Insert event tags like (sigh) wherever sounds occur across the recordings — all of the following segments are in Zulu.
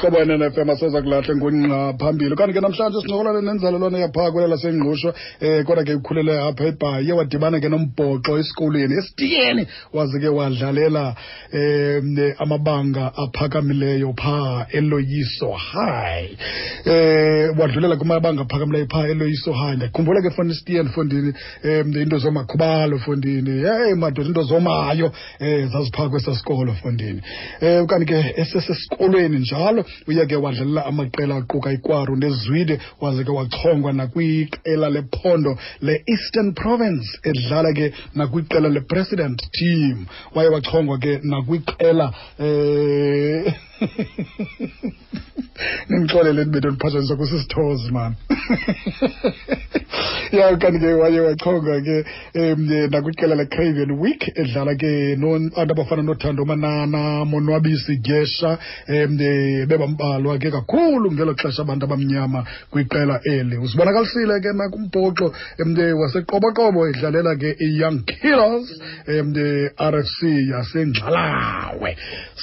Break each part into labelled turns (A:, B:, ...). A: hlobo yenenfm aseza kulahle ngonqa phambili kanti ke namhlanje sincokolane nenzalelwane yaphaa kwela lasengqusho um kodwa ke ukhulele apha ebhayi wadibana ke nombhoxo esikolweni esitiyeni wazi ke wadlalela um amabanga aphakamileyo phaa eloyiso high um wadlulela kumabanga aphakamileyo phaa eloyiso high ndiyakhumbula ke fondini isitiyeni fondini um into zomakhubalo fondini yeyi madoda into zomayo um zaziphaa kwesa sikolo fondini um kanti ke esesesikolweni njalo uye ke wadlalela amaqela aquka ikwaru nezwide waze ke wachongwa nakwiqela lephondo le-eastern province edlala ke nakwiqela le-president team waye wachongwa ke nakwiqela um (laughs) nindixolele ndibe ndoliphazanyiswa kusisithozi mani (laughs) ya kanti ke waye wachonga ke um nakwiqela lecraven week edlala ke no- abantu abafana nothando manana monwabisi gesha um bebambalwa ke kakhulu ngelo xesha abantu abamnyama kwiqela eli uzibonakalisile ke nakumbhoxo um waseqoboqobo edlalela ke i-young killers um rfc yasengxalawe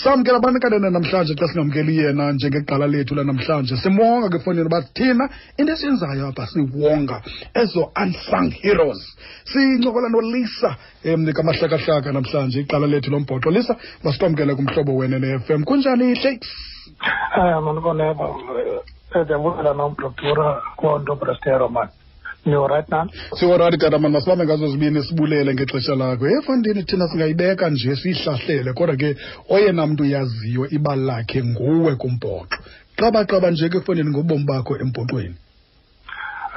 A: samkela abanikane namhlanje xa singamkeli yena njengeqala lethu lanamhlanje simonga ke fowunini uba thina into esiyenzayo apha siwonga ezo unsung heroes sincokola nolisa um kamahlakahlaka namhlanje iqala lethu lombhoxo lisa masikwamkele kumhlobo wena ne-fm kunjani shakes
B: Eh, mano koneba, ndiyavulela nomblotura kwonto prestero man. You right now?
A: siorati tata mani masibambe ngazo zibini sibulele ngexesha lakho ye fandini thina singayibeka nje siyihlahlele kodwa ke oyena mntu uyaziyo ibali lakhe nguwe kumbhoxo xabaxaba nje ke efowunini ngobomi bakho embhoxweni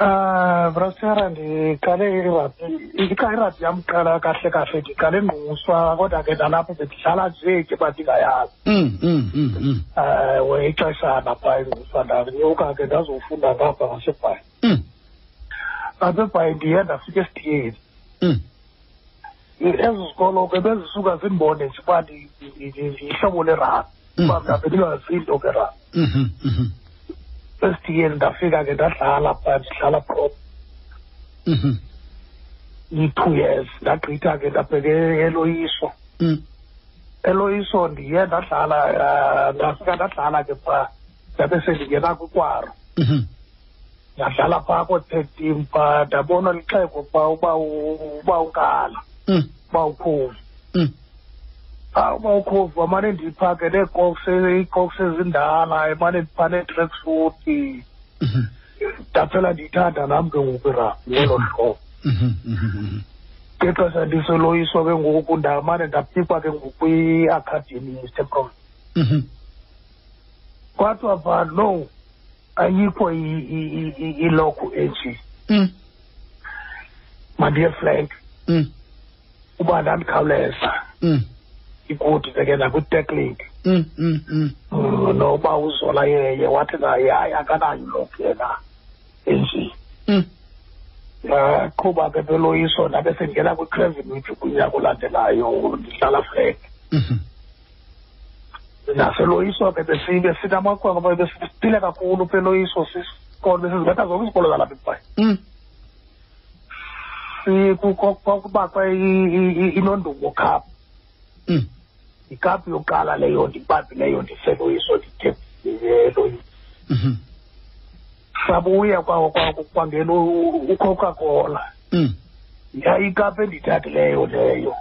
B: Eh, prestero ndiqale irabhi, ndiqale irabhi yamqala kahle kahle ndiqale ngquswa kodwa ke nalapho bendidlala nje ke bandingayazi.
A: Mm, mm, mm, mm.
B: Eh, we ixeshana phaa engquswa ndanyuka ke ndazofunda ngapha ngasebhayi.
A: Mm,
B: Ngasebhayi ndiye ndafika esitiyeni.
A: mm.
B: Ezi zikolo ke bezisuka zimbone nje uba ndi- ndi- ndi- ndihlobo lerabhi. Uba mna bendingazi into ngerabhi.
A: Mhm, mhm,
B: esitiyeni ndafika ke ndadlala phaa ndidlala prop
A: mhm,
B: i-two years ndagqitha ke ndabheke eloyiso
A: mm.
B: eloyiso ndiye ndadlala eh, ndafika ndadlala ke phaa ndabe sendingena kwikwaro
A: Mhm,
B: ndadlala phaa koo-third team phaa ndabona lixeko phaa uba u- uba ukala
A: mm,
B: uba ukhovu
A: mm.
B: ah uba ukhovu amane ndiyiphake neekoks iikoks ezindala emane ndipha neetreksuti
A: Mhm,
B: ndaphela ndiyithanda nam ke ngoku irabhi ngelo hlobo
A: mhm, mhm,
B: ngexesha ndiseloyiso ke ngoku ndamane ndapikwa ke ngokwiakhademi yesteprom
A: mhm.
B: kwathiwa pha no ayikho i- i- i- i- ilokhu enje
A: Mm,
B: mandiye flank
A: mm,
B: uba ndandikhawuleza
A: mm,
B: ikude ke nakwitekliki
A: mm, mm, mm.
B: Mm, noba uzola yeye wathi naye hayi akanayo ilokhu yena enje
A: Mm,
B: ndaqhuba ke beloyiso ndabe sendingena kwicrevenwich kunyaka olandelayo ndihlala flank
A: mhm.
B: naseloyiso ke besibe sinamakhwenkwe abe besisile kakhulu pha eloyiso sisikolo besizibetha zonke izikolo zalapha ebhayi
A: Mm,
B: kubakwe inondubo cup
A: mm.
B: yikapu yokuqala leyo ndibambileyo ndiseloyiso nditheleloyiso
A: Mhm,
B: sabuya kwa- kwa- kwangena u- ucoca cola
A: mm,
B: yayikapu endiyithathileyo leyo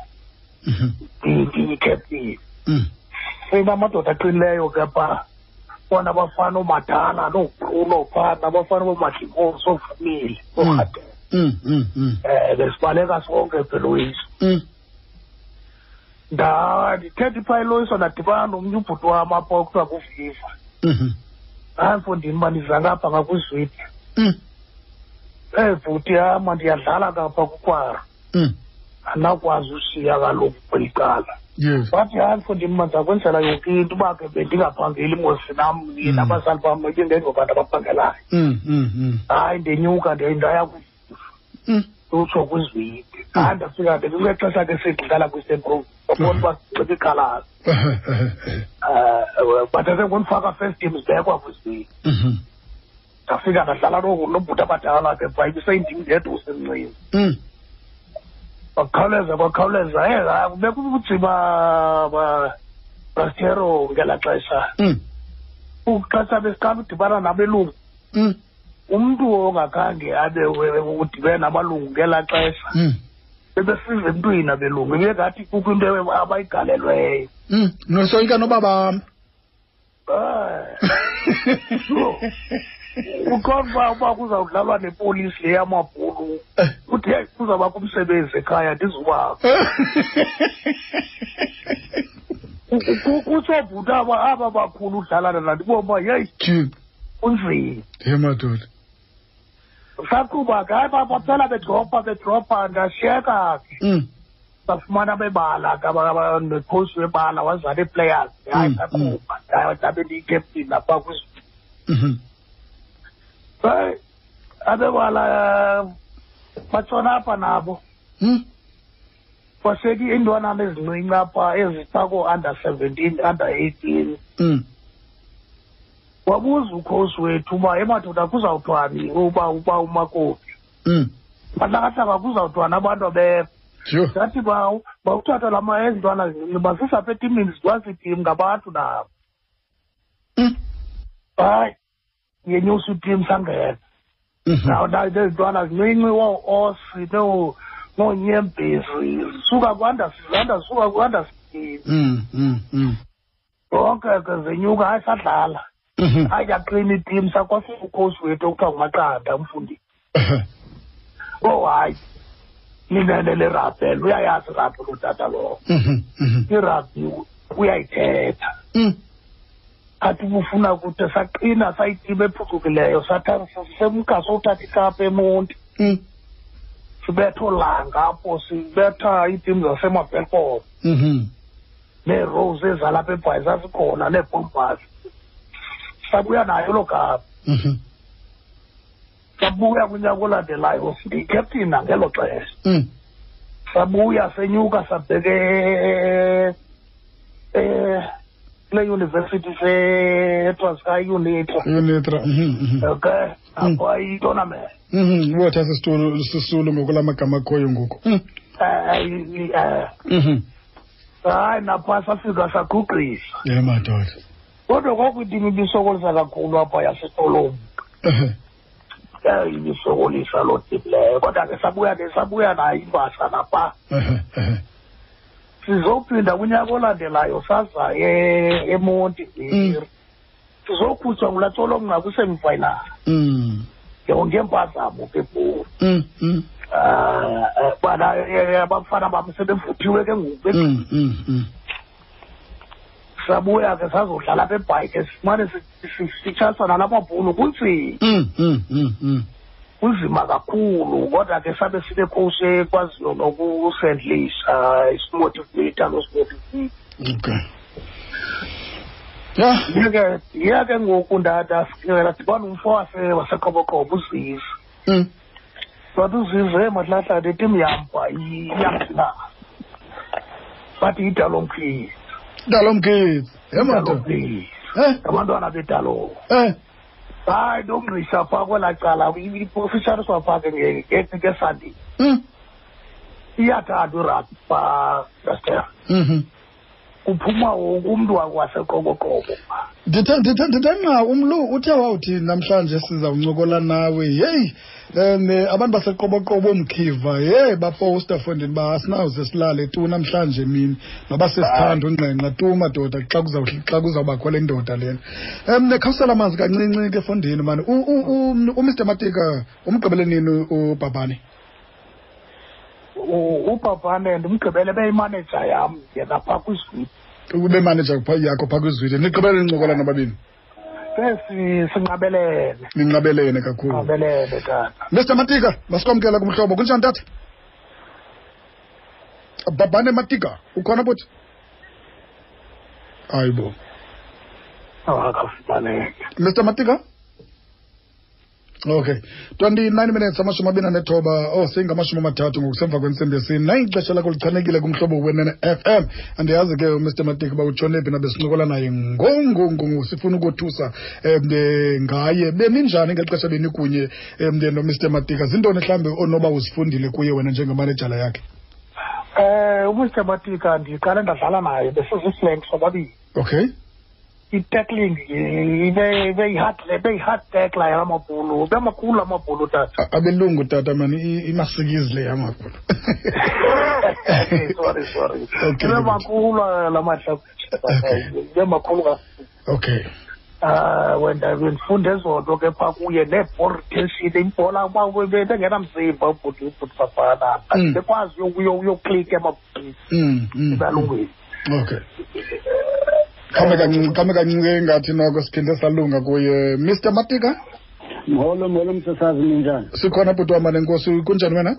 A: mhm,
B: ndiyikeptini
A: mm.
B: sinamadoda aqinileyo ke phaa bona abafana oomadala noobruno phaa nabafana boomadlimosi oofumile oorhade
A: Mm, mm, mm,
B: um besibaleka sonke pheloyiso
A: mm.
B: nda ndithetha phaa eloyiso ndadibana nomnye ubhuti wam apha okuthiwa kuviva
A: Mhm,
B: hayi mfondini uba ndizangapha ngakwizwidi
A: mm,
B: ey Eh, bhuti yama ndiyadlala ngapha kukwara
A: mm.
B: andakwazi ushiya kaloku kweliqala
A: Yes.
B: wathi hayi mfondini mandizakwenzela yonke into uba ke bendingaphangeli mosi nam
A: Mm.
B: nabazali bam bengengobantu abaphangelayo
A: Mm, mm, mm,
B: hayi ndinyuka ndiye- ndaya ku-
A: mm. (laughs)
B: utsho kwizwidi
A: Mm.
B: hayi ndafika ke kwexesha ke sidlala kwisempro babona uba sinxiba ikhalazi
A: Mm-hmm. Mm,
B: um but asengundifaka first team zibekwa kwizwidi
A: Mhm,
B: ndafika ndadlala no- nobhuti abadala ke pha ibiseyindim ndedwa usemncinci
A: mm.
B: bakhawuleza bakhawuleza e hayi kubeka ubutsima ba- brastero ngelaa xesha
A: Mm,
B: ukuxesha besiqala udibana nabelungu
A: Mm,
B: umntu ongakhange abe we- udibene nabalungu ngelaa xesha
A: mm,
B: bebesiza emntwini abelungu bengathi kukho into abayigalelweyo
A: mm. nosoyika nobabam
B: Eh, uqonda uba uba kuzawudlalwa nepolisi le yamabhulu uthi heyi kuzawubakho umsebenzi ekhaya ndizubakho kutsobhuta aba aba bakhulu udlalana nandibona uba yeyi
A: Jim,
B: kunzima
A: he madoda.
B: saqhuba ke hayi ba- baphela bedropha bedropha ndashiyeka ke
A: Mm,
B: bafumana bebala ke aba- aba- nekhosi webala wazala ii-players hayi
A: Mm,
B: saqhuba Ndaye- ndabe ndiyikeptini napha kwizwe
A: mhm.
B: hayi abebala eh, batshona apha nabo
A: Mm,
B: kwaseki iintwanana ezincinci apha ezipha koo-under seventeen under eighteen
A: mm.
B: wabuza ukhosi wethu uba emadoda kuzawuthiwani uba uba umakoti
A: Mm.
B: bahlakahlaka kuzawuthiwani abantu abekho
A: Yho.
B: ndathi baw bawuthatha la maezintwana zincinci bazisa apha etimini zidwasitim ngabantu nabo
A: Mm,
B: hayi yenyusa itim sangena
A: mhm.
B: nawo nayo nezintwana zincinci woosi noo- noonyembezi zisuka kwanda zanda zisuka kwanda sitim
A: Mm, mm, mm.
B: zonke ke zenyuka hayi sadlala
A: Mhm.
B: hayi yaqina itim sakwafika ukhosi wethu okuthiwa ngumaqanda umfundisi
A: Mm-hmm.
B: oh hayi linene lerabhel uyayazi irabhel utata lowo
A: Mhm, mhm.
B: irabhi uyayithetha
A: Mm,
B: athi ubufuna kude saqina sayitima ephucukileyo sathatha- semka sowuthatha ikapa emonti
A: mm.
B: sibetha olanga apho sibetha iitim zasemabelkom
A: Mhm.
B: neerose ezalapha ebhayi zazikhona neebombas sabuya nayo loo kapa
A: Mhm.
B: sabuya kwinyaka olandelayo ndiyikeptini nangelo xesha
A: Mm.
B: sabuya senyuka sabheke eh, eh, kule yunivesithi setraskay unitra
A: Unitra. Mhm, mhm.
B: okay
A: Mm.
B: apho itonament
A: Mhm, wotha sisitulo sisulu ngokula magama akhoyo ngoku. Mm.
B: Eh, hayi
A: Mhm.
B: napha safika sagugqisa
A: Ye madoda.
B: kodwa kwakwintim ibisokolisa kakhulu apha yasitolombi
A: Ehe.
B: um ibisokolisa loo tim leyo kodwa ke sabuya ke sabuya nayo imbasa napha
A: Ehe, ehe.
B: sizophinda kunyaka olandelayo saza e- emonti
A: Mm.
B: sizokhutshwa ngulaa tsolomnqa kwisemifinali
A: Mm.
B: ngempazamo ke bor
A: Mm, mm.
B: um bana eh, abafana bam sebevuthiwe ke ngoku be-
A: Mm, mm, mm.
B: sabuya ke sazodlala apha ebhayike simane si- si- sitshasa nalamabhulu kunzima
A: Mm, mm, mm, mm.
B: kunzima kakhulu kodwa ke sabe sinekhosi ekwaziyo eh, nokusendlisha isimotivata nosimotivata
A: Okay. Yeah.
B: yeke iya ke ngoku ndadadibana umfo wase waseqoboqobo uzizi
A: Mm.
B: sathi uzizi e mahlahlane itim yamva iyamthina bathi yidalomkhisi
A: Dalo mkids. Ye madoda.
B: idalomkhisi
A: Eh,
B: abantwana bedaloko
A: eh.
B: hayi nomngqisa phaa kwelaa cala ifitshaniswa phaa ke nge- ngethi ke sandi
A: Mm.
B: iyathathwa irabhi phaa daster
A: Mhm.
B: kuphuma wonke umntu waseqoboqobo phaa
A: Ndithe ndithe ndithe nqa umlu uthe wawuthi namhlanje sizawuncokola nawe yeyi um abantu baseqoboqobo mkhiva yeyi baposta fondini uba asinawuze silale tu namhlanje mini noba sesithanda ungqengqa tu madoda xa kuzawuhl- xa kuzawubakho le ndoda lena um nekhawusela amanzi kancinci ke fondini mani U- u- u- umr matika umgqibele nini ubhabane
B: U- ubabane ndimgqibele beyimaneja yam yena phaa kwizwiti
A: ube manaja yakho phaa kwizwide nigqibele nincokola nobabini
B: sesi sinqabelele
A: ninqabelene kakhulu
B: nqabelele tata
A: Mr Matika masikwamkela kumhlobo kunjani tata babane Matika ukhona buthi hayi bo
B: awakafumaneke
A: Mr Matika okay 29 minutes amashumi abini anethoba oh seyingamashumi amathathu ngokusemva kwentsimbi yesini nayi ixesha lakho lichanekile kumhlobo wenene fm andiyazi ke umr matika uba utshone phi nabesincokola naye ngongongongo sifuna ukothusa um ngaye beninjani ngexesha benikunye um nomr matika zintoni mhlawumbi onoba uzifundile kuye wena njengemanejala yakhe
B: Eh, um ubusematika ndiqale ndadlala naye besiziflank sobabili
A: okay
B: i-tackling nje ibe ibe yi-hard ibe yi-hard tackler yamabhulu bemakhulu amabhulu tata
A: A- abelungu tata mani i- imasikizi le yamakhulu
B: sorry sorry
A: Okay,
B: ibe
A: good.
B: makhulu eh, la mahlakuthi ibe makhulu kakhulu
A: okay
B: Ah, wena bendifunde ezonto ke phaa kuye neeboritation ibhola uba bengenamzimba ubhuti ubhuti bafana
A: Mm.
B: bekwazi uyoklika emabhulini
A: Mm, mm, mm.
B: ebalungweni
A: okay khame kancinci khame kancinci engathi noko siphinde salunga kuye mr matika
C: mholo mholo msasazi ninjani
A: sikhona bhuti wama nenkosi kunjani wena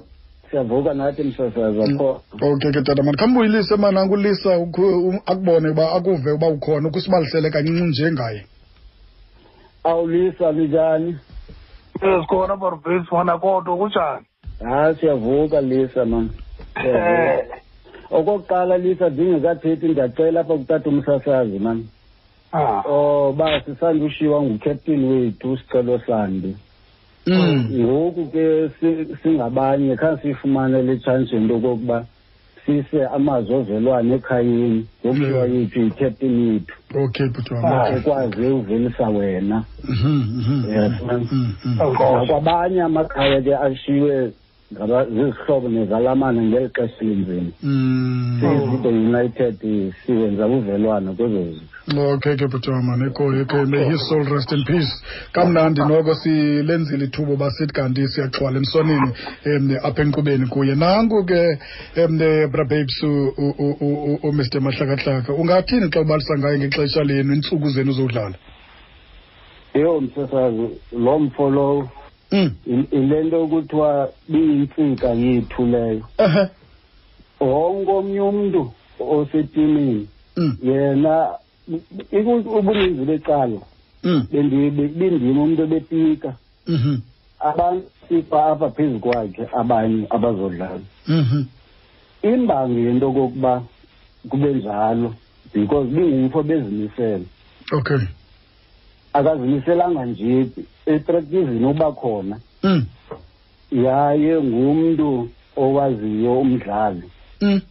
C: siyavuka nathi msasazi akho
A: okay ke tata mani khamba uyilise mani angulisa ukhu- u- akubone uba akuve uba ukhona ukusibalisele kancinci nje ngaye
C: awulisa linjani
B: ezikhona borobhesi wona kodwa kunjani
C: hayi siyavuka lisa mani
B: Eh,
C: okokuqala lisa ndingekathethi ndiyacela apha kutata umsasazi mani
B: ah,
C: oh ba sisandushiwa ngucaptain wethu usicelo sandi
A: Mm,
C: ngoku ke si- singabanye khange siyifumane le tshansi yento okokuba sise amazwi ovelwane ekhayeni ngokuthiwa
A: Mm.
C: yethu yicaptain yethu
A: okay bhuti wam
B: Ah.
A: okay.
C: ekwazi uvelisa wena
A: Mhm, mhm,
C: Yes, ma'am.
A: mhm, mhm.
B: Oh,
C: Na
B: gosh.
C: kwabanye amakhaya ke ashiywe ngaba- zizihlobo nezalamane ngeli xesha elinzima
A: Mm.
C: sizide united eh, siwenza uvelwano kwezo zinto
A: okay ke bhuti mani ekhoyo ke may his soul rest in peace kamnandi noko silenzile ithuba uba sithi kanti siyaxhwala emsonini um apha enkqubeni kuye nanku ke um brababes umr mahlakahlaka ungathini xa ubalisa ngaye ngexesha lenu iintsuku zenu zodlala
C: yeyo msesazi loo mfo lowo
A: Mm.
C: il- ile nto yokuthiwa biyintsika yethu leyo
A: Ehe.
C: wonke omnye umntu osetimini
A: Mm,
C: yena iku- ubuninzi becala
A: mm,
C: bendim umntu ebepika
A: mhm,
C: abantu sifa apha phezu kwakhe abanye abazodlala
A: mhm.
C: imbangi yento kokuba kube njalo because bingumfo bezimisele
A: okay
C: akazimiselanga nje etraktizini uba khona
A: Mm,
C: yaye ngumntu owaziyo umdlali
A: mm.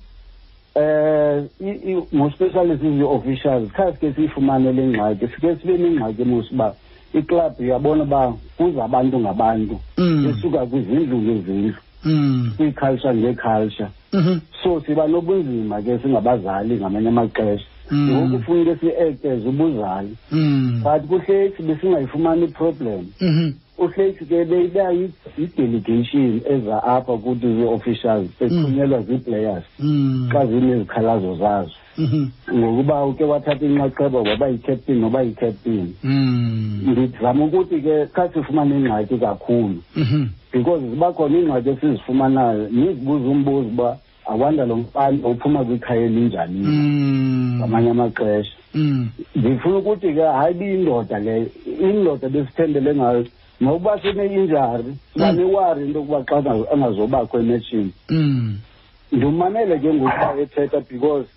C: um ngospecialist zi-officials kha sike siyifumane le ngxaki sike sibe nengxaki mos uba iklabhu uyabona uba kuza abantu ngabantu
A: Mm.
C: isuka kwizindlu ngezindlu
A: Mm,
C: kwiiculture ngeculture
A: mhm,
C: so siba nobunzima ke singabazali ngamanye amaxesha ngoku
A: mm,
C: kufuneka si-actors ubuzali
A: mm,
C: but kuhleki besingayifumani iproblem
A: mhm.
C: uhleki ke beyiba yi- yi-delegation eza apha kuthi zii-officials ethunyelwa zii-players
A: Mm,
C: xa zinezikhalazo zazo
A: mhm,
C: ngokuba uke wathatha inxaxheba waba yi-captain noba yi-captain
A: mm,
C: ndizama ukuthi ke kha sifumane ingxaki kakhulu
A: mhm.
C: because ziba khona iingxaki esizifumanayo nizibuza umbuzo uba awanda lo mfana uphuma kwikhaya elinjani
A: Mm,
C: ngamanye amaxesha
A: mm,
C: ndifuna ukuthi ke hayi biyindoda leyo indoda besithembele ngayo nokuba sine-injari
A: Mm.
C: banewari into yokuba xa angazo- angazobakho emetshini
A: mm.
C: ndimamele ke ngokuba ethetha because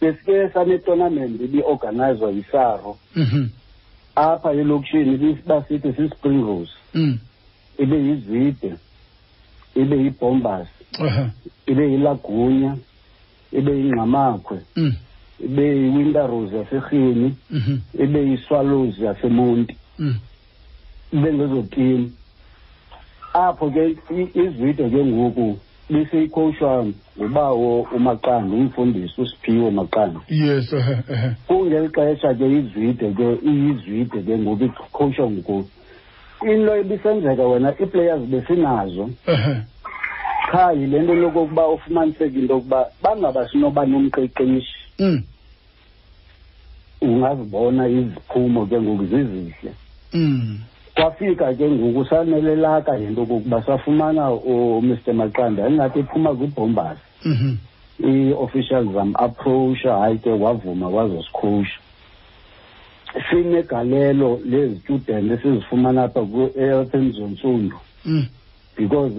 C: besike sanetonament ibiorganizwa yisaro
A: Mhm,
C: apha elokishini basithi si-spring rose
A: mm.
C: ibe yizide ibe yibombas
A: Aha,
C: ibe yilagunya ibe yingqamakhwe
A: mm,
C: ibe yiwinter rose yaserhini
A: mhm,
C: ibe yiswallows yasemonti
A: mm.
C: bengezotim apho ke i- izide ke ngoku liseyikhowushwa ngubawo umaqanda umfundisi usiphiwe maqanda
A: yes aha, aha.
C: kungeli xesha ke izide ke iyizide ke ngoku ikhowushwa ngoku into ebisenzeka wena ii-players besinazo
A: Aha,
C: qha yile nto lokokuba ufumaniseke into yokuba bangaba sinoba nomqeqeshi
A: mm,
C: ungazibona iziphumo ke ngoku zizihle
A: mm.
C: kwafika ke ngoku sanelelaka yento kokuba safumana umr maqanda ingathi iphuma kwibhombasi
A: Mhm,
C: ii-officials zamapproacha hayi ke wavuma wazosikhowusha sinegalelo lezitudent esizifumana apha ephemzonsundu
A: mm.
C: because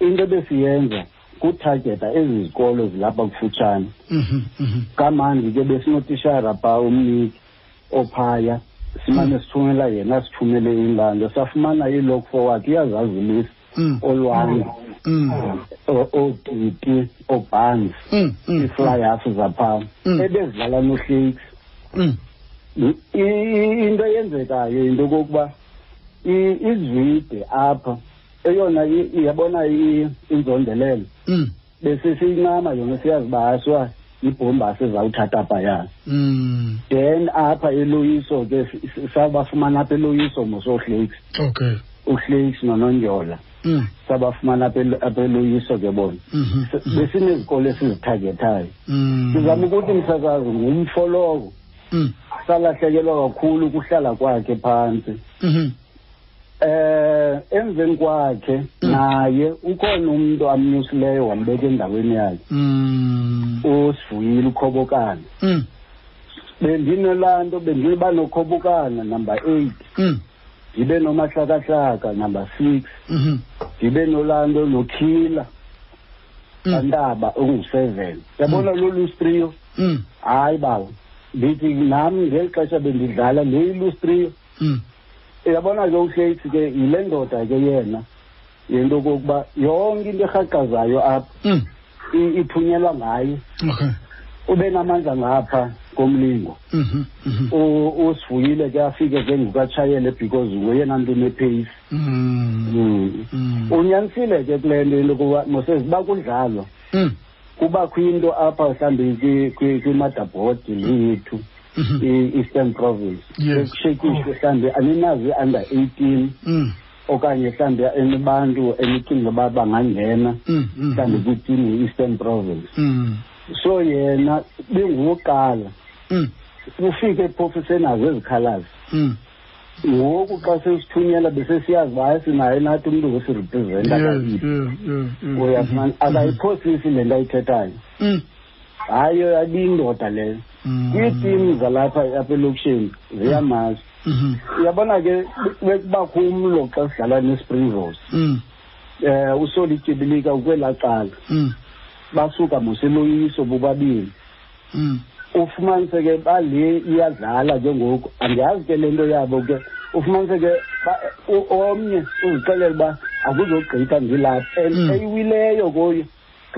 C: into ebesiyenza kuthageta ezi zikolo zilapha kufutshane
A: Mhm, mhm.
C: kamandi ke besinotishara pha umniki ophaya simane sithumela yena sithumele inlando safumana ilok forward iyazazi ilisi
A: Mm,
C: olwanda
A: mm,
C: o- ootiti oobhans
A: mm, mm,
C: iiflyers zaphaa
A: Mm.
C: ebezidlala nohlakes
A: mm.
C: I- i- into eyenzekayo into kokuba i- izwide apha eyona i- iyabona i- inzondelelo
A: Mm.
C: bese siyincama yona siyazi baswa ibhombasi ezawuthathapha yayo
A: Mm.
C: then apha eloyiso ke s- s- sabafumana apha eloyiso mosohlakes
A: Okay.
C: uhlakes nonondyola
A: Mm.
C: sabafumana apha elo- apha eloyiso ke bona
A: Mhm.
C: S- besinezikolo esizithagethayo
A: Mm.
C: sizama ukuthi msasazi ngumfoloko
A: Mm.
C: salahlekelwa kakhulu ukuhlala kwakhe phantsi
A: Mhm.
C: eh emveni kwakhe
A: Mm.
C: naye ukhona umuntu amnyusileyo wambeka endaweni yakhe
A: Mm.
C: usivuyile ukhobokana
A: Mm.
C: bendinolaa nto bendiba nokhobokana number eight
A: Mm.
C: ndibe nomahlakahlaka number six
A: Mhm.
C: ndibe nolaa nto nokhila
A: Mm.
C: kantaba onguseven yabona lolu strio
A: Mm.
C: hayi baba ndithi nam ngeli xesha bendidlala ndiyilustrio
A: Mm.
C: yabona ke uhlesi ke yile ndoda ke yena yento kokuba yonke into erhaqazayo apha
A: Mm.
C: i- ithunyelwa ngaye
A: Okay.
C: ube namandla ngapha komlingo
A: Mhm. Mhm.
C: U- usivuyile ke afike ke ngukatshayele because ngoyena mntu unepheyisi
A: Mm.
C: Mm.
A: Mm.
C: unyanisile ke kule nto into yokuba moseziba kudlalwa
A: Mm.
C: kubakho into apha mhlawumbi kwimadabhod yethu
A: Mhm.
C: i-eastern province
A: Yes.
C: ekushekiswe mhlawumbi aninazi i-under eighteen
A: Mm.
C: okanye mhlawumbi enibantu enicinga uba bangangena
A: Mm. Mm.
C: mhlawumbi kwitimu ye-eastern province
A: Mm.
C: so yena benguwokuqala
A: Mm.
C: ufike ephofisenazo ezikhalazi
A: Mm.
C: ngoku xa sesithunyelwa besesiyazi uba hayi sinaye nathi umntu
A: Yes,
C: wesirepresenta kaiphi
A: yes, yes, yes.
C: uyafumana
A: Mhm.
C: akayiphosisi le nto ayithethayo
A: Mm.
C: hayi abiyindoda leyo
A: Mm.
C: kwiitimu zalapha apha elokishini ziyamazi
A: Mhm.
C: uyabona ke be- bekubakho umlo xa sidlala nespringos
A: Mm.
C: um usolityibilika ukwelaa cala
A: Mm.
C: basuka moseloyiso bobabini
A: Mm.
C: ufumanise ke bale iyadlala ke ngoku andiyazi ke le nto yabo ke ufumanise ke ba- u- omnye uzixelela uba akuzogqitha ndilapha and
A: Mm.
C: eyiwileyo kuyo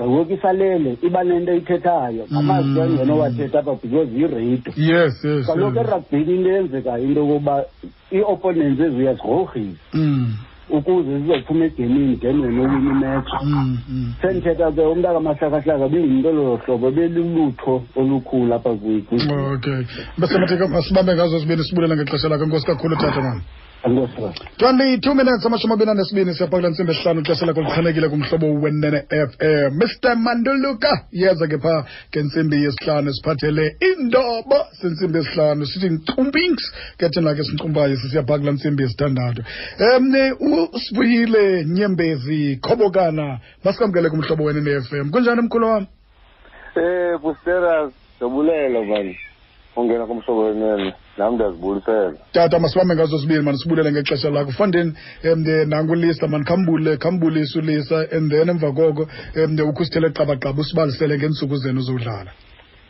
C: ngoku isalele iba nento eyithethayo
A: Mm.
C: amazwi angeno wathetha apha because yireyido
A: Yes, yes.
C: kaloku
A: yes.
C: eragbini into eyenzekayo into yokokuba ii-opponents eziuyazigrogrisa
A: Mm.
C: ukuze zizophuma egemini then wena owina imetso
A: Mm. Mm.
C: sendithetha ke umntu akamahlakahlaka bingumntu ololo hlobo belulutho olukhulu apha kwikwi
A: Oh, Okay. Bese matheka masibambe ngazo sibini sibulela ngexesha lakho. Inkosi kakhulu tata mama.
C: ankosi
A: Twandi 2 minutes amashumi abini anesibini siyaphakula ntsimbi esihlanu ixesha lakho lichanekile kumhlobo wenene FM. Mr Manduluka yeza ke phaa ngentsimbi yesihlanu siphathele indobo sentsimbi yesihlanu sithi nkcumpings ke thina ke sinkcumbayo sisiyaphakula ntsimbi yesithandathu. Um usibuyile nyembezi khobokana masikwamkele kumhlobo wenene FM. Kunjani mkhulu wami?
D: Eh Bustera dobulela manje. Ungena kumhlobo wenene. Nami ndazibulisela.
A: tata masibambe ngazo sibini mani sibulele ngexesha lakho fandeni um nangulista mani khambule khambulise ulisa and then emva koko um ukhusithele qabaqaba usibalisele ngeentsuku zenu zodlala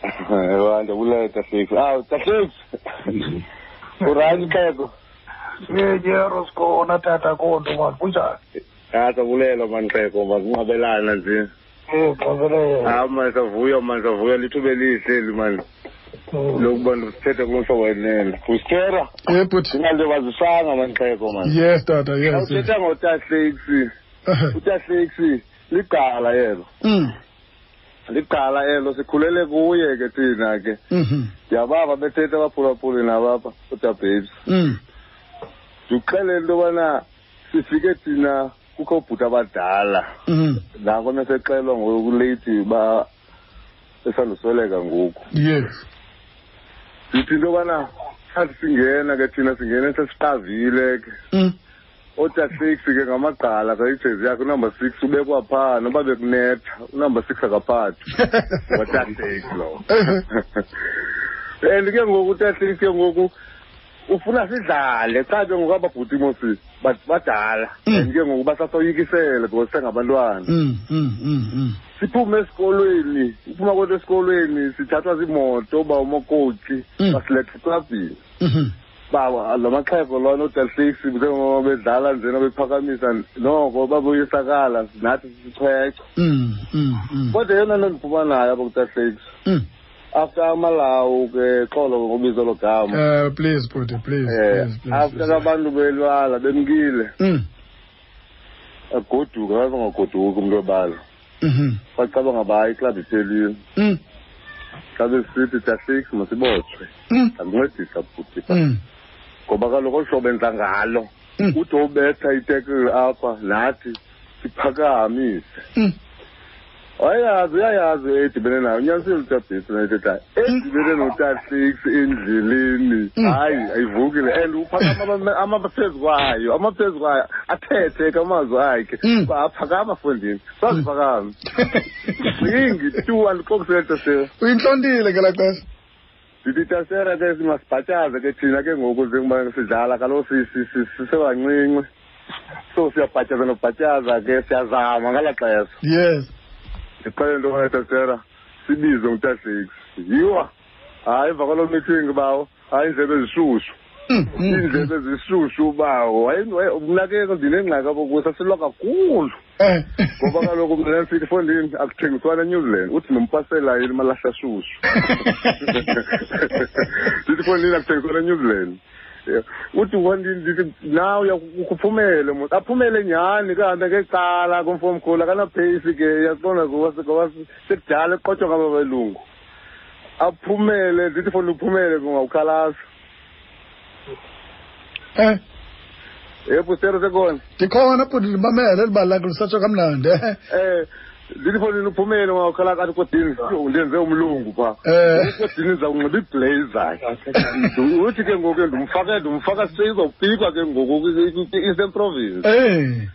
D: (laughs) Ewa ndabulela Tafix. Ah (laughs) Tafix. Urani kheko.
B: yenyero sikhona tata konto mani kunjani
D: Ah sabulela manje kheko masinqabelana nje.
B: um xazelele
D: Ah manje savuya manje savuya lithuba lihle manje. Lokuba ndisithethe kumhlobo wenene. Bustera
A: Eh, but
D: singalibazisanga manje kheko manje.
A: yes tata yes yes.
D: Awuthetha ngoTafix. uTafix ligqala yelo.
A: (laughs) Mm,
D: Ligqala elo sikhulele kuye ke thina ke.
A: mhm,
D: ndiyabava bethetha abaphulaphuli nabapha udabhebs
A: mm,
D: ndikuxelele into yobana sifike thina kukho bhuti abadala
A: mhm.
D: nako nesexelwa ngokuleythi uba esandusweleka ngoku
A: yes
D: ndithi into yobana sathi singena ke thina singena sesiqavile ke
A: Mm, (laughs)
D: ota six ke ngamagqala ka ijezi yakhe unumber six ubekwa phaa noba bekunetha unumber six akaphathi
A: (laughs)
D: ngotatex lowo (laughs) and ke ngoku utatex ke ngoku ufuna sidlale xa ke ngoku ababhuti mosi ba- badala
A: Mm.
D: and ke ngoku basasoyikisele because sengabantwana
A: mm, mm, mm, mm.
D: siphume esikolweni uphuma kwethu esikolweni sithathwa ziimoto uba umakoti
A: Mm.
D: basiletha eklabhini
A: Mhm,
D: baba lo maxhego lona udelfix njengoba bedlala njena bephakamisa noko baboyisakala nathi sisichwechwe
A: mm, mm, mm,
D: kodwa yona nto ndiphuma nayo apha kudelfix
A: mm.
D: after amalawu ke xolo ngobizo logama
A: Eh please bhuti please please
D: um after abantu belwala bemkile
A: Mm.
D: egoduka bazangagoduki umntu webala
A: Mhm.
D: bacabanga ba iklabhu iphelile
A: Mm.
D: xa besithi tahlix masibotshwe
A: Mm.
D: andincedisa bhuti
A: Mm.
D: ngoba kaloku olu hlobo enza ngalo
A: Mm.
D: ude ubetha itekile apha nathi siphakamise
A: Mm.
D: wayazi uyayazi edibene nayo unyanisile utabhisi nayithethayo edibene notatlix endleleni
A: Mm.
D: hayi ayivukile and uphakama amaphezu kwayo amaphezu kwayo athethe ke amazwi akhe
A: Mm.
D: uba aphakama fondini saziphakame
A: (laughs)
D: ingi two andixokusele tasera
A: uyintlontile ke laa xesha
D: ndithi tasera ke simasibhatyaze ke thina ke ngoku njengoba sidlala kaloku si- si- si- sisebancinci so siyabhatyaza nobhatyaza ke siyazama ngalaa xesha
A: yes
D: ndiqale into kaetasera sibize ngutahleks yiwa hayi emva kwaloo meeting bawo hayi iindlebe ezishushu
A: Mm, mm, mm.
D: iindlebe ezishushu bawo Waye- waye- mna ke ndinengxaki apho kusasilwa kakhulu
A: Eh.
D: ngoba (laughs) kaloku mna ndisithi fondini akuthengiswana enewzealand uthi nompasela yini malahla shushu ndithi fondini akuthengiswana enewzealand Yeah. uthi fondini ndithi naw uyakuphumele mos aphumele nyhani kahambe ngecala kumfomkhulu akanapheyisi ke yaqonda ngoba sekudala eqotywa ngaba belungu aphumele ndithi fondini uphumele kungawukhalaza
A: Eh.
D: ebusero sekona
A: ndikhona bhuti ndimamele liba lakho lisatsho kamnandi eh.
D: um ndithi fondini uphumele ungawukhala kathi kodini "Yo, ndenze umlungu phaa
A: eh
D: kodini ndizawunxiba iblazer uthi ke ngoku ke ndumfake ndumfaka seyizopikwa ke ngoku eastern province
A: eh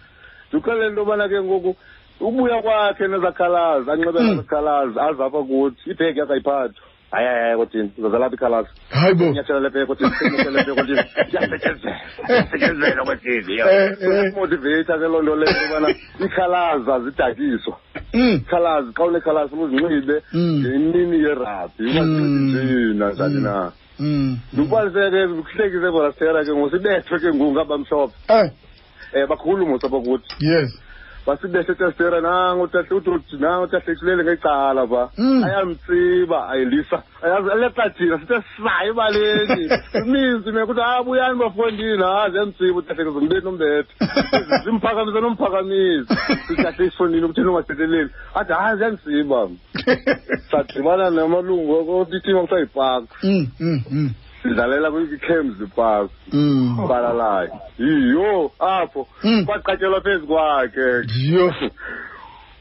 D: ndiqele into yobana ke ngoku ubuya kwakhe nezakhalazi anxibela
A: Mm.
D: nezakhalazi aze apha kuthi ibhegi yakhe ayiphathwa hayi hayi hayi kodini uzazalapha ikhalazi
A: hayi bo
D: inyathela lephe kodini inyathela lephe kodini
A: (laughs)
D: iyasetyenzela iyasetyenzela kodini
A: Eh, eh.
D: uyamotiveyitha ke loo nto leyo into yobana ikhalazi azidakiswa
A: Mm.
D: ikhalazi xa unekhalazi uzinxibe
A: Mm.
D: ngemini yerabhi
A: Mm.
D: ungazinjena njani na
A: Mm.
D: ndikubalise ke kuhlekise volastera ke ngosibethwe ke ngoku abamhlophe
A: eh
D: um bakhulu mosapha kuthi
A: yes
D: basibethe utestera nangotahleuthi nangotahlekilele ngecala pha
A: Mm.
D: ayamtsiba ayilisa ayazi aleqa thina sithe sayo ebaleni ininzi meke kuthi hayi "Ah, buyani bafondini hazi emtsiba utahlekise mbeni nombetha zimphakamisa nomphakamisa sitahle isifondini ukuthini ungathetheleli athi hayi ziyanditsiba sadibana namalungu otitima kuthiwa yipaka
A: (laughs) Mm, mm, mm,
D: sidlalela kwikhemzi park Oh,
A: mm.
D: balalayo yiyo apho
A: Mm.
D: kwaqatyelwa phezu kwakhe
A: Yho.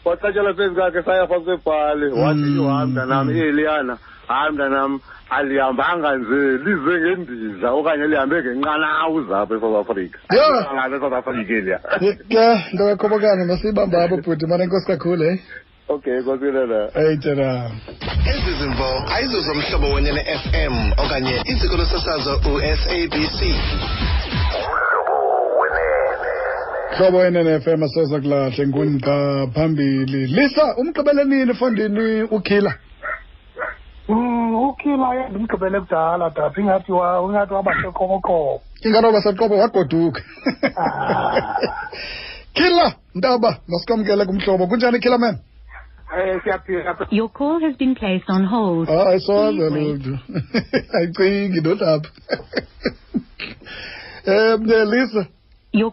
D: kwaqatyelwa phezu kwakhe saya phaa kwebhali wathi
A: Mm.
D: yoha mntanam
A: Mm.
D: eliyana hayi mntanam alihambanga nje lize ngendiza okanye lihambe ngenqanawa zapha esouth africa
A: Yho.
D: Alihambanga esouth africa eliya
A: ke nto kakhobokana masiyibamba apho bhuti mane nkosi kakhulu eh
D: okay konsilela
A: eyi tena
E: ezi zimvo ayizozomhlobo wenye ne-fm okanye iziko losasazo usabc
A: hlobo enenfm asoza kulahle ngunqa phambili lisa umgqibelenini fondini ukhila
B: Mm, ukhila ye ndimgqibele kudala dapha ingathi wa- ingathi wabaseqoboqobo
A: inganoba saqobo wagoduka
B: Ah.
A: khila ntaba masikwamkele kumhlobo kunjani khila man
B: um siyaphila
F: Your call has been placed on hold.
A: hayi soza Ah,
F: Please wait.
A: lutho (laughs) ayicingi (laughs) notapha um lisa
F: Your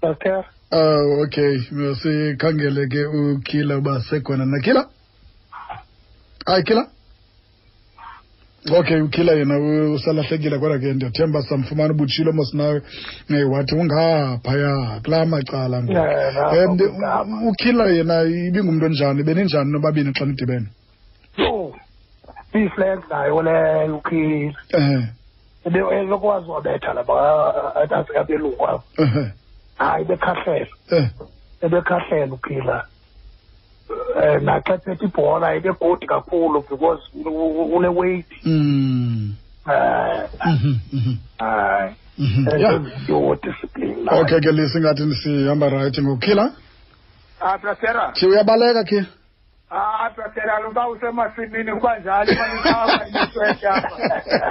B: brotera
A: Oh, okay. Masikhangele ke ukhila uba sekhona na khila. Hayi khila. Okay, ukhila yena u- usalahlekile kodwa ke ndiyathemba samfumana ubutshilo mos nawe Eh, wathi ungaphaya kulaa macala ngoku.
B: Yeah, Mm, lapha
A: Em, Eh, ndi-
B: kungapha.
A: u- ukhila yena ibingumntu onjani beninjani nobabini xa nidibene
B: yo iyiflenk nayo leyo ukhila
A: Eh,
B: elokwazi wabetha laba asikabelungu apho
A: eh,
B: hayi bekhahlela
A: eh.
B: e ebekhahlela uphila um naxa ethetha ibhola ebegodi kakhulu because uneweight
A: Mm.
B: um
A: Mhm, mhm,
B: hayi Eh,
A: mhm. Yeah.
B: ezinto-discipline
A: Okay ke lisi ngathi sihamba right ngokhila.
B: Ah, atrasera
A: Thi uyabaleka khila.
B: Ah, atrasera luba usemasimini kuba (laughs) njani
A: (laughs)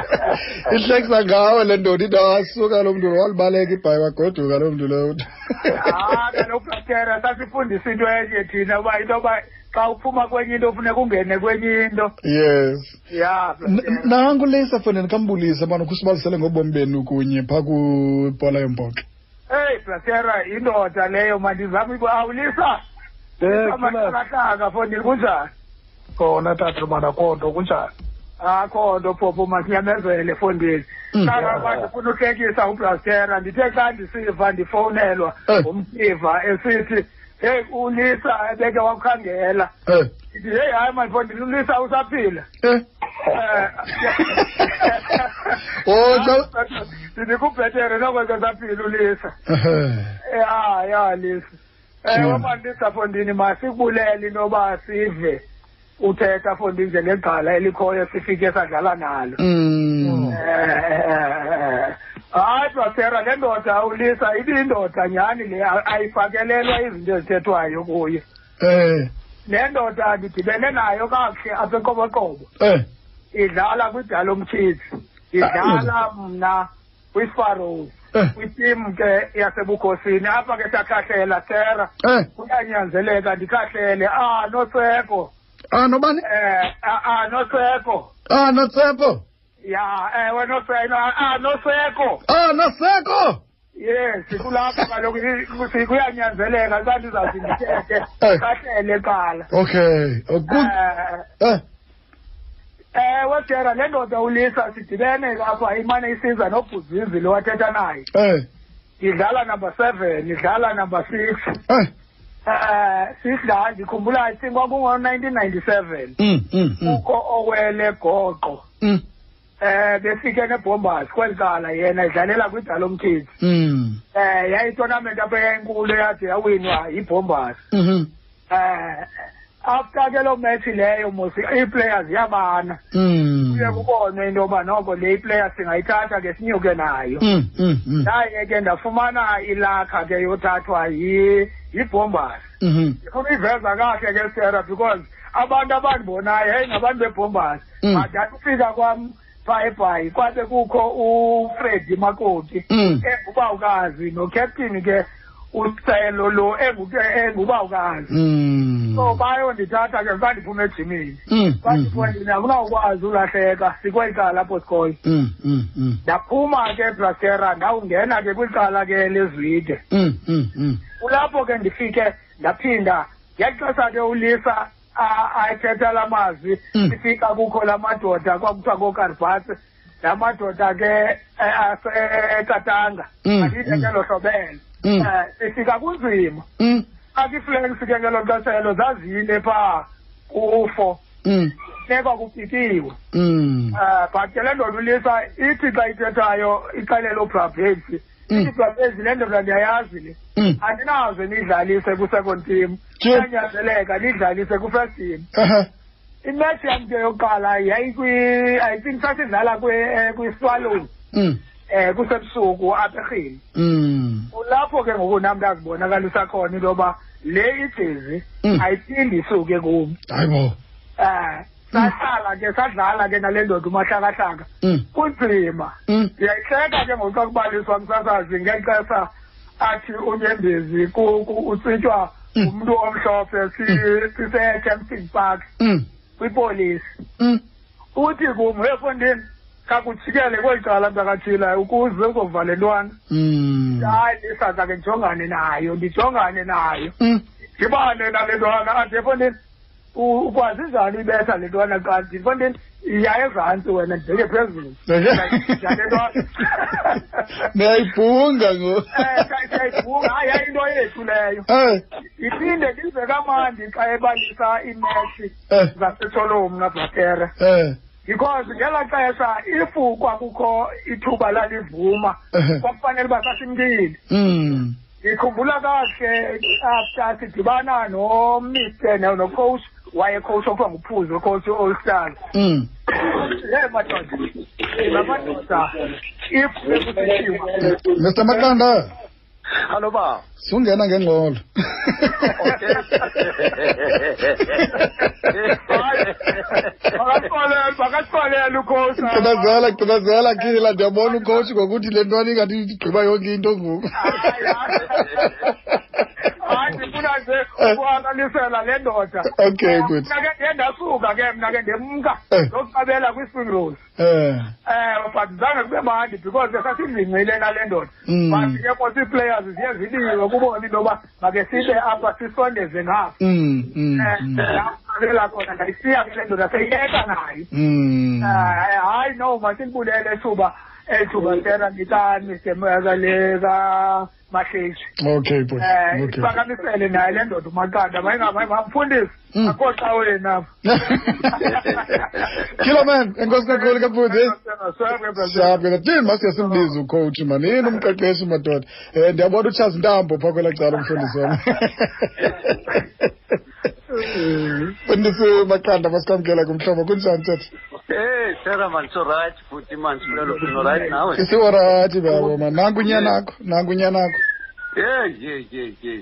A: ihlekisa ngawe le ndoda into wasuka lo mntu lo walibaleka ibhayi wagoduka lo mntu lo
B: Ah, kaloku brotera sasifundisa into enye thina uba into yoba xa uphuma kwenye into funeka ungene kwenye into
A: yes
B: ya
A: N-
B: Brotshera.
A: nanku leyisa fondeni khambulise bana khusibalisele ngobomi benu kunye phaa kwibhola yombhoxo
B: eyi brasera yindoda leyo mandizama iba awulisa
A: Eh,
B: amahlakahlaka fondini kunjani kona tatomana akho nto kunjani akho nto phopho masinyamezele fondini
A: Mm.
B: kangakuba ndifuna uhlekisa ubrasera ndithe xa ndisiva ndifowunelwa
A: Eh.
B: ngumsiva esithi heyi ulisa ebeke wakukhangela
A: eh
B: ndithi heyi hayi mandifondini ulisa usaphila
A: eh (laughs) Oh,
B: (laughs)
A: xa-
B: ndikubhetere nokwenza saphila ulisa
A: ehe.
B: ya Eh, ah, ya lisi
A: Sure.
B: ewe mandisa fondini masibulele noba sive uthetha fondini njengegqala elikhoyo sifike sadlala nalo
A: Mm.
B: Eh, eh, eh, eh. hayi basera le ndoda ulisa ibindoda nyhani le a- ayifakelelwa izinto ezithethwayo kuye
A: eh
B: le ndoda ndidibene nayo kakuhle apha enkoboqobo
A: eh
B: idlala kwidala omtshizi idlala mna kwifarows
A: eh
B: kwitim ke yasebukhosini apha ke sakhahlela sera
A: eh
B: kuyanyanzeleka ndikhahlele ah noseko
A: ah nobani
B: eh ah, ah noseko
A: ah notsepho
B: ya ewe noseko ah noseko
A: ah noseko
B: yes kulapho kaloku i- kusi- kuyanyanzeleka xa ndizawuthi ndithethe
A: Eh.
B: kahlele qala
A: okay oh, oku-
B: Eh,
A: eh
B: ewe sera le ndoda ulisa sidibene apha imane isiza nobhuzizi lo wathetha naye
A: eh
B: idlala number seven idlala number six
A: eh
B: Eh sidla ndikhumbula I think kwakungo-1997
A: mm mm mm
B: kukho owele goqo
A: mm
B: eh befike nebombers kweli cala yena edlalela kwidala omkhithi
A: mm
B: eh yayitonament apha eyayinkulu eyade yawinwa yibombers
A: mhm,
B: eh after ke loo match leyo mos ii-players ziyabana
A: mm
B: kuye kubonwe into yoba noko le iplayer singayithatha ke sinyuke nayo
A: mm mm mm
B: ndaye ke ndafumana ilakha ke yothathwa yi- yibombers
A: mhm,
B: ndifuna iveza kahle ke sera because abantu abandibonayo heyi ngabantu bebhombasi
A: Mm.
B: badathi ufika kwam phaa ebhayi kwabe kukho ufredi makoti
A: mm
B: engubawukazi nokaptini ke ucelo lo engu- engubawukazi
A: mm
B: so bayondithatha ke bandiphuma ejimini
A: mm mm
B: bandifondini akunawukwazi ulahleka sikweli lapho sikhoyo
A: mm mm mm
B: ndaphuma ke brasera ndawungena ke kwicala ke lezwide
A: Mm, mm, mm.
B: kulapho ke ndifike ndaphinda ngexesha ke ulisa a- athetha la mazwi
A: Mm.
B: sifika kukho la madoda kwakuthiwa kookaribhasi la madoda ke e- ase- e- ekatanga
A: Mm,
B: andide
A: mm.
B: ngelo hlobelo
A: Mm.
B: um sifika kunzima
A: Mm,
B: akiflanks ke ngelo xeshelo zazile phaa kufo
A: mm,
B: neka kupikiwe
A: mm.
B: um but ke le ndoda ulisa ithi xa ithethayo ixelela ubrabhezi
A: Mm.
B: ithi brabhezi le ndoda ndiyayazi le
A: Mm.
B: andinazo nidlalise ku-second team
A: Sure.
B: kuyanyanzeleka nidlalise ku-first team
A: Aha.
B: imatch yam ke yokuqala yayikwi- i think sasidlala kwi- eh, kwiswallow
A: Mm,
B: um kusebusuku apha erhini
A: mm,
B: kulapho ke ngoku nam ndazibonakalisa khona into yoba le ijezi
A: Mm.
B: ayiphindi isuke kum
A: hayi bo.
B: um sahlala ke sadlala ke nale ndoda umahlakahlaka
A: Mm,
B: kunzima
A: mm,
B: ndiyayihleka ke ngokuxa kubaliswa msasazi ngexesha athi unyembezi ku- ku- utsitywa
A: Mm.
B: umntu omhlophe si- sise-camping park
A: mm,
B: kwipolisi
A: mm.
B: uthi kum efondini khakujikele kweli cala mntakathila ukuze uzovalelwana
A: Mm,
B: hayi lisaza ke ndijongane nayo ndijongane nayo
A: mm.
B: ndibane nale ntwana athi efondini u- ukwazi njani uyibetha le ntwana kanti efondini iya ezantsi wena ndibeke phezulu ndale ntwana
A: ndiyayibhunga ngoku
B: Eh, siya- siyayibhunga hayi hayi into yethu leyo
A: Eh,
B: iphinde ndive kamandi xa ebalisa iimeshi
A: eh,
B: zasetsholom nabhakera
A: eh,
B: because ngelaa xesha if kwakukho ithuba lalivuma
A: eh.
B: kwakufanele uba sasimkile
A: Mm,
B: ndikhumbula kahle after sidibana nomiste nocoach wayecoach okuthiwa nguphuzi wecoach i-all stars
A: mm,
B: le madoda la madoda if bekusithiwa
A: Mr Maqanda
D: Hello ba.
A: sungena ngengqolo
D: Okay.
B: Bakaxolele, bakaxolele ukhosi.
A: gqibezela gqibezela khila ndiyabona ucoach ngokuthi le ntwana ingathi igqiba yonke into ngoku
B: Hayi, hayi. Hayi, ndifuna nje ke ukwakalisela le ndoda
A: Okay, good.
B: mna ke ndiye ndasuka ke mna ke ndemka
A: Eh.
B: ndokuqabela kwi-spring rolls
A: Eh.
B: um but zange kube mandi because besasizingcile nale ndoda
A: Mm.
B: but ke kwasi-players ziye ziliwe kubona into yoba make sibe apha sisondeze ngapha
A: Mm. mm,
B: um
A: mm,
B: ndaqabela khona ndayisiya ke le ndoda seyiyeka nayo
A: Mm.
B: Eh, hayi no masilibulele ethuba ethuba tera ngitani semaka le ka mahlezi
A: Okay, boy.
B: um
A: Okay.
B: iphakamisele naye le ndoda umaqanda mayingamfundisi
A: Mm.
B: akhoxa
A: (laughs)
B: wena
A: Killer man, enkosi kakhulu kabhuti. Siyabona nje mase simbiza ucoach man yini umqeqeshi madoda eh ndiyabona uCharles Ntambo phaa kwela cala umfundisi wami Mfundisi Maqanda masikwamkela kumhlobo kunjani tata
G: Hey, Sarah man, so right, futhi man, sibulelo phino right eh. nawe.
A: isiwarathi babo man nangu unyanakho nangu unyanakho
G: Hey, hey, hey, hey.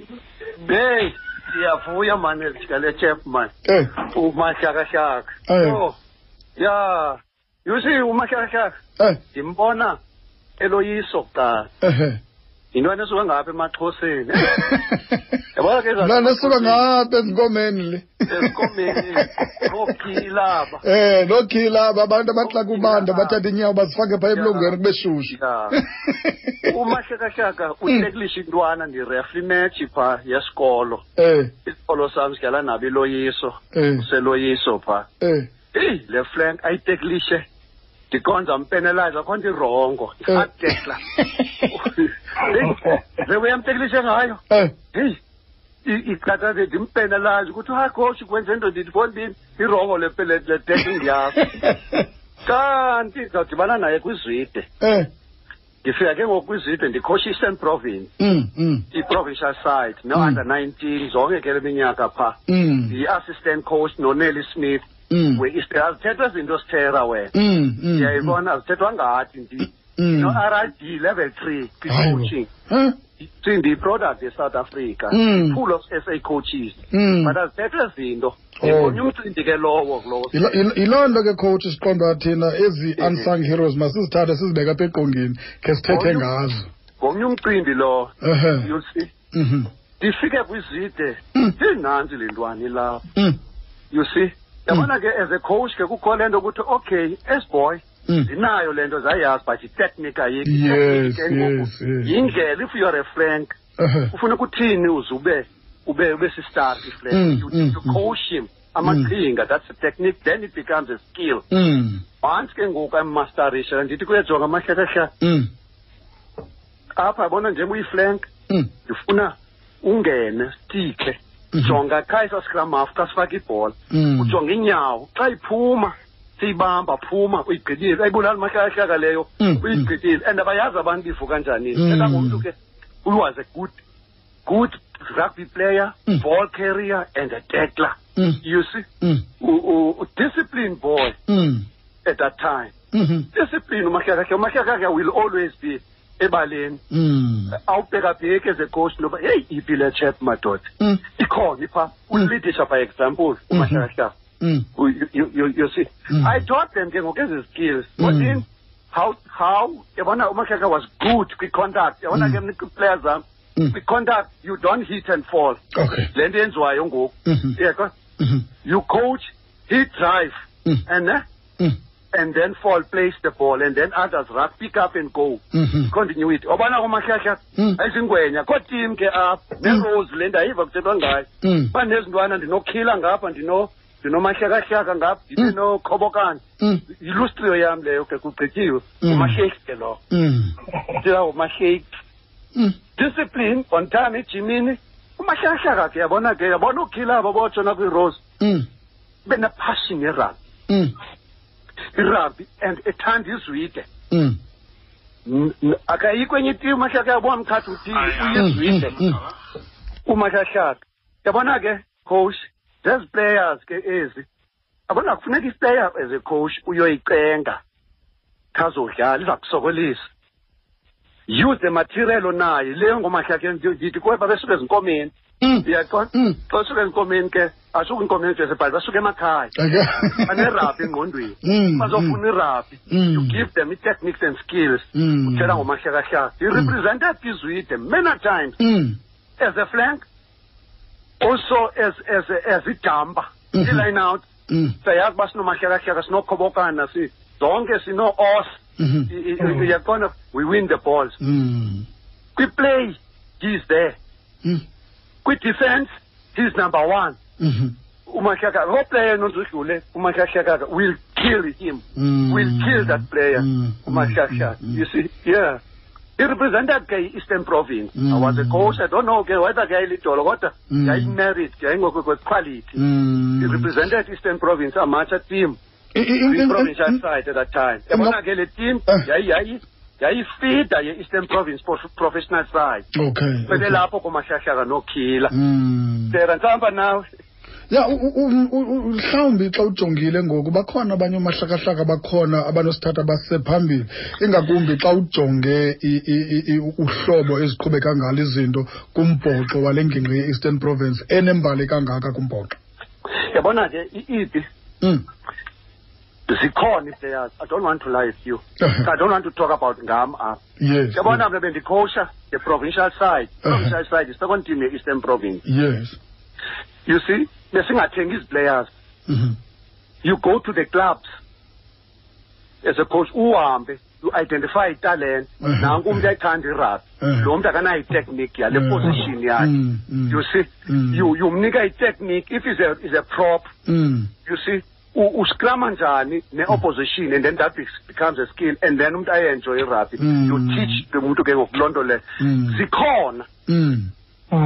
G: Hey, siyavuya man, esikale chef man.
A: eh
G: Umashaka shaka.
A: Eh.
G: Oh. Yeah. You see umashaka shaka,
A: eh
G: ndimbona eloyiso kuqala.
A: ehe
G: Yintwana esuka ngapha emaXhoseni. Yabona ke
A: Mna nesuka ngapha ezinkomeni le
G: Ezinkomeni,
A: (laughs)
G: nokhilaba.
A: eh nokhilaba abantu abaxla kubanda bathatha inyawo bazifake phaa emlungwini kube shushu
G: Yeah.
A: (laughs)
G: Umashaka shaka uteklish intwana ndirefli match pha yesikolo.
A: eh
G: Isikolo sami sidlala nabo iloyiso.
A: eh
G: seloyiso pha
A: eh
G: eyi le flank ayiteklishe ndikonza mpenelaza akho nto irongo
A: Eh. (laughs)
G: isatekla (laughs) lebuya mteklishe ngayo
A: eh
G: heyi iqathaze ndimpenelaza ukuthi hagoshi kwenze nto ndithi fo ndini irongo le pe- le- le tekling
A: (laughs)
G: yakho kanti ndizawudibana naye kwizwide
A: eh
G: ndifika ke ngoku kwizwide ndikhosha i-eastern province
A: mm mm
G: i-provincial side
A: Mm.
G: no-under nineteen zonke ke le minyaka phaa
A: mm
G: yi-assistant coach noneli smith
A: mm
G: we-eastern azithethwa izinto sithera wena
A: Mm, mm,
G: E ndiyayibona zithethwa ngathi ndi
A: mm.
G: no-r d level three
A: Hayi bo.
G: kwi-coaching
A: Huh?
G: sindiyi-product ye-south africa
A: Mm.
G: full of s a coaches
A: Mm.
G: but azithethwe zinto
A: Oh.
G: ndibonye umcimbi ke lowo kulowo
A: Yilo- yilo- yiloo nto ke coach siqonda uba thina
G: Eh,
A: ezi unsung heroes masizithathe sizibeke apha eqongeni khe sithethe
G: Oh,
A: ngazo
G: ngomnye umcimbi lowo
A: ehe
G: you see
A: Mhm.
G: ndifike kwizide
A: Mm.
G: ndinanzi le ntwana ilapha
A: Mm,
G: you see yabona ke as a coach ke kukho le nto ukuthi okay as boy
A: mm.
G: ndinayo le nto zayazi but itechnique ayikho
A: Yes,
G: Itechnique ke ngoku
A: yes, yes.
G: yindlela if youare a frank
A: Ehe.
G: ufuna ukuthini uze ube ube ube sistar iflare
A: Mm,
G: you
A: mm,
G: need to
A: mm.
G: coach him amaqhinga that's a technique then it becomes a skill
A: Mm,
G: once ke ngoku ammasterisha ndithi kuyejonga amahlekahleka
A: mm,
G: apha yabona njengoba uyiflank
A: mm.
G: ndifuna ungene stikhe
A: Mhm.
G: jonga khaisa scramaf xa sifake ibhola
A: Mm.
G: ujonga inyawo xa iphuma siyibamba phuma uyigqithile ayibulali mahlakahlaka leyo
A: Mm, mm.
G: uyigqithile and abayazi abantu bifo kanjani
A: Mm.
G: etangumntu ke uwas a good good rugby player
A: Mm.
G: ball carrier and a tackler
A: Mm,
G: you see
A: mm,
G: u- u- u- discipline boy
A: mm,
G: at that time
A: mhm,
G: discipline umahlakahlaka umahlakahlaka will always be ebaleni
A: mm,
G: awubhekabheki as a coach noba heyi iphi le chep madoda
A: mm,
G: ikhona ipha uleadership by example umahlakahlaka
A: mm.
G: you, you, you- you see,
A: Mm.
G: I taught them ke ngokezi skills.
A: Mm.
G: Within how how yabona uMashaka was good kwi-contact yabona ke mna player zam
A: Mm.
G: kwi-contact you don't hit and fall
A: Okay.
G: le nto yenziwayo ngoku
A: Mhm,
G: yeko
A: mhm,
G: you coach he drive
A: Mm.
G: and eh,
A: mm,
G: and then fall place the ball and then others run pick up and go
A: mhm.
G: continuity wabona kumahlahla
A: Mm.
G: ayizingwenya kotim ke apha nerose le ndayiva kuthethwa ngayo
A: Mm.
G: banezintwana ndinokhila ngapha ndino ndinomahlakahlaka ngapha
A: Mm.
G: ndinokhobokana
A: Mm,
G: yilustriyo yam leyo ke kugqityiwe
A: Mm.
G: umasheyikhi ke lowo
A: mm,
G: ndila umasheyikhi
A: mm.
G: discipline on time ejimini umahlakahlaka ke yabona ke yabona ukhilaba botshona kwirose
A: Mm,
G: benepassion yerugby
A: mm,
G: irugby and ethanda izwide
A: mm.
G: N- n- akayikho enye itim umahlaka yabona mkhathi uthile uyizwide
A: Mm,
G: umahlahlaka yabona ke coach these players ke ezi yabona kufuneka iplayer as a coach uyoyicenga khazodlala iza kusokolisa use the material onayo leyo ngomahlakhe ndithi kweba besuke ezinkomeni
A: mm, mm.
G: ndiyaqona
A: Mm.
G: xa usuke ezinkomeni ke asuke inkomeni jesebhali basuke emakhaya
A: Okay.
G: banerabhi engqondweni
A: Mm,
G: bazofuna irabhi
A: Mm.
G: you give them i-techniques and skills
A: Mm.
G: uthela ngomahlakahlaka irepresenta izwide many times
A: Mm,
G: as a flank also as as as idamba
A: Mhm.
G: i-line out
A: Mm,
G: siyazi uba sinomahlakahlaka sinokhobokana si zonke sino-os
A: mhm.
G: E, uyaqonda we win the balls
A: Mm,
G: kwiplay he's there
A: mm,
G: kwi-defense he's number one
A: mhm,
G: umahlakhlaka lo player nozudlule umahlakhlaka will kill him
A: mm.
G: will kill that player
A: Mm,
G: umahlakhlaka
A: mm, mm,
G: you see yeah he represented ke i-eastern province i was a coach i don't know ke whether ke ayilidolo kodwa
A: Mm.
G: yayimerit ke yayingoku kwequality
A: mm.
G: he represented eastern province amatsha team
A: I- i- in- in-
G: kwi-provincial
A: in-
G: side at that time
A: Mm.
G: yabona ke le team
A: Eh.
G: yayi- yayi- yayifida ye-eastern province prof- professional side
A: Okay.
G: kwele
A: okay.
G: lapho kumahlakhlaka nokhila
A: Mm.
G: tera ntihamba nawe
A: ya u- u- u- u- u- mhlawumbi xa ujongile ngoku bakhona abanye umahlakahlaka bakhona abanosithatha basephambili ingakumbi xa ujonge i- i- i- i- uhlobo eziqhube kangalo izinto kumbhoxo wale ngingqi ye-eastern province enembali kangaka kumbhoxo
G: yabona ke i-ibi
A: mm.
G: zikhona iplayers i don't want to lie with you
A: Mm.
G: i don't want to talk about ngam apha
A: yes
G: yabona mna bendikhosha the provincial side
A: Uh-huh.
G: provincial side isecond team ye-eastern province
A: yes
G: you see besingathengi iziplayers
A: Mhm.
G: you go to the clubs as a coach uhambe you identify italent
A: Mhm.
G: nanku umntu ayithanda irugby
A: Mhm.
G: lo mntu akanayo itechnique
A: Mm-hmm.
G: yale position yakhe
A: Mm, mm,
G: you see
A: Mm.
G: you you mnika itechnique if is a is a prop
A: mm.
G: you see u- uscrama njani ne-opposition and then that be- becomes a skill and then umntu ayenjoy irugby
A: Mm.
G: you teach the muntu ke ngokuloo nto leyo
A: Mm.
G: zikhona
A: Mm.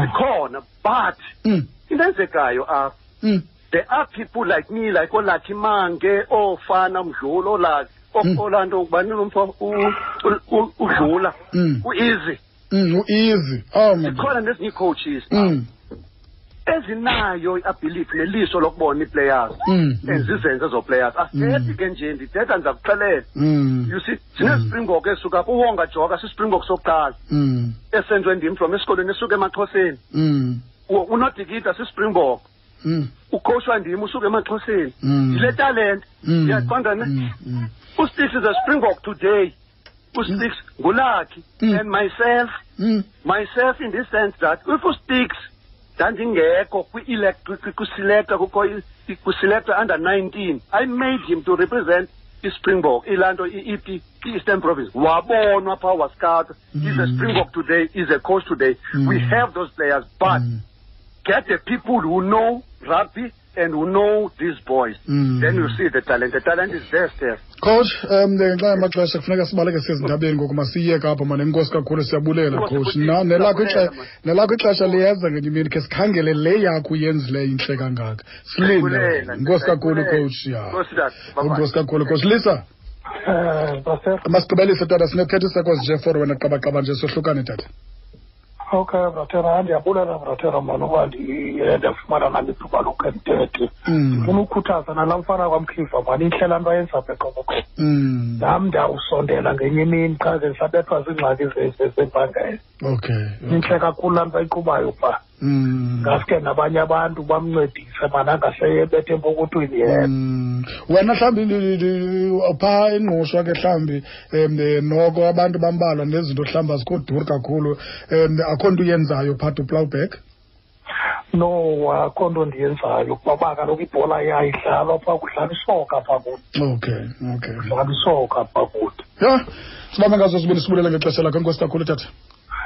G: zikhona but
A: Mm.
G: into enzekayo apha
A: Mm.
G: there are people like me like olathi mange oofana mdlula olazi
A: Mm.
G: olaa nto ukuba ninomfo udlula
A: Mm.
G: ueasy
A: Mm. u-easy oh my God.
G: zikhona nezinye iicoaches ah,
A: Mm.
G: ezinayo iability neliso lokubona ii-players
A: Mm. Mm.
G: and zizenze ezo players asithethi ke nje ndithetha ndiza kuxelela
A: Mm.
G: you see sinezipringbok ezisuka kuwonga joka sisispringbok sokuqala
A: Mm.
G: esenzwe ndim from esikolweni esuka emaxhoseni
A: Mm.
G: U- unodikida sispringbok
A: Mm.
G: ucoach wandim usuka emaxhoseni
A: Mm.
G: yile talente
A: Mm.
G: Uyaqonda ne?
A: Mm. Mm.
G: uStix is a Springbok today. uStix ngulakhi
A: Mm.
G: and myself
A: Mm.
G: myself in the sense that if uStix ndandingekho kwi-elect kuselekta kukho i- kuselekta under 19 I made him to represent iSpringbok ilanto i-EP i-Eastern Province wabonwa phaa wascout he's a
A: Mm.
G: Springbok today he's a coach today we
A: Mm.
G: have those players but
A: Mm.
G: get the people who know rugby and who know these boys
A: Mm.
G: then you see the talent the talent is there Steph
A: coach um ngenxa yamaxesha kufuneka sibaleke sezindabeni ngoku masiyeke apho mani enkosi kakhulu siyabulela
G: Nkosi,
A: coach
G: butyebi,
A: Na- nelakho
G: siyabulela,
A: ixe-
G: mani.
A: nelakho ixesha liyeza ngenye imini khe sikhangele le yakho uyenzileyo intle kangaka silinde
G: Siyabulela,
A: nkosi kakhulu
G: siyabulela.
A: coach ya
G: Nkosi, Dad. Bye-bye.
A: nkosi kakhulu coach lisa
B: um brasera
A: masigqibelise tata sinethetha seconds nje for wena qabaqaba nje sohlukane tata
B: okay brasera ndiyabulela brasera mani uba ndi- ndafumana nam ithuba lokhe ndithethe
A: Mm,
B: ndifuna ukukhuthaza nalaa mfana kwamkhiva mani ihlela nto ayenza apha eqokoko
A: mm,
B: nam ndawusondela ngenye imini qha ke ndisabethwa ziingxaki ze- ze- zempangelo
A: okay
B: intle kakhulu laa nto ayiqubayo pha
A: Mm,
B: ngaske nabanye abantu bamncedise mani angaseyebetha empokothweni yena
A: mm. wena mhlawumbi li- li- li- phaa ingqushwa ke mhlawumbi um eh, noko abantu bambalwa nezinto mhlawumbi azikho duri kakhulu um akho nto uyenzayo phaa to plowback
B: no akho nto ndiyenzayo kuba ba kaloku ibhola yayidlalwa phaa kudlala isoka phaa kuthi
A: okay okay
B: kudlala isoka phaa kuthi
A: ya sibambe ngazo zibini sibulele ngexesha lakho enkosi kakhulu tata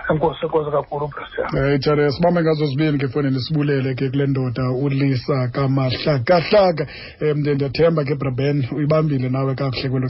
B: enkosi enkosi kakhulu brasera
A: Eh Tare sibambe ngazo zibini ke fowunini sibulele ke kule ndoda ulisa kamahlakahlaka um ndiyathemba ke Braben uyibambile nawe kakuhle kwelo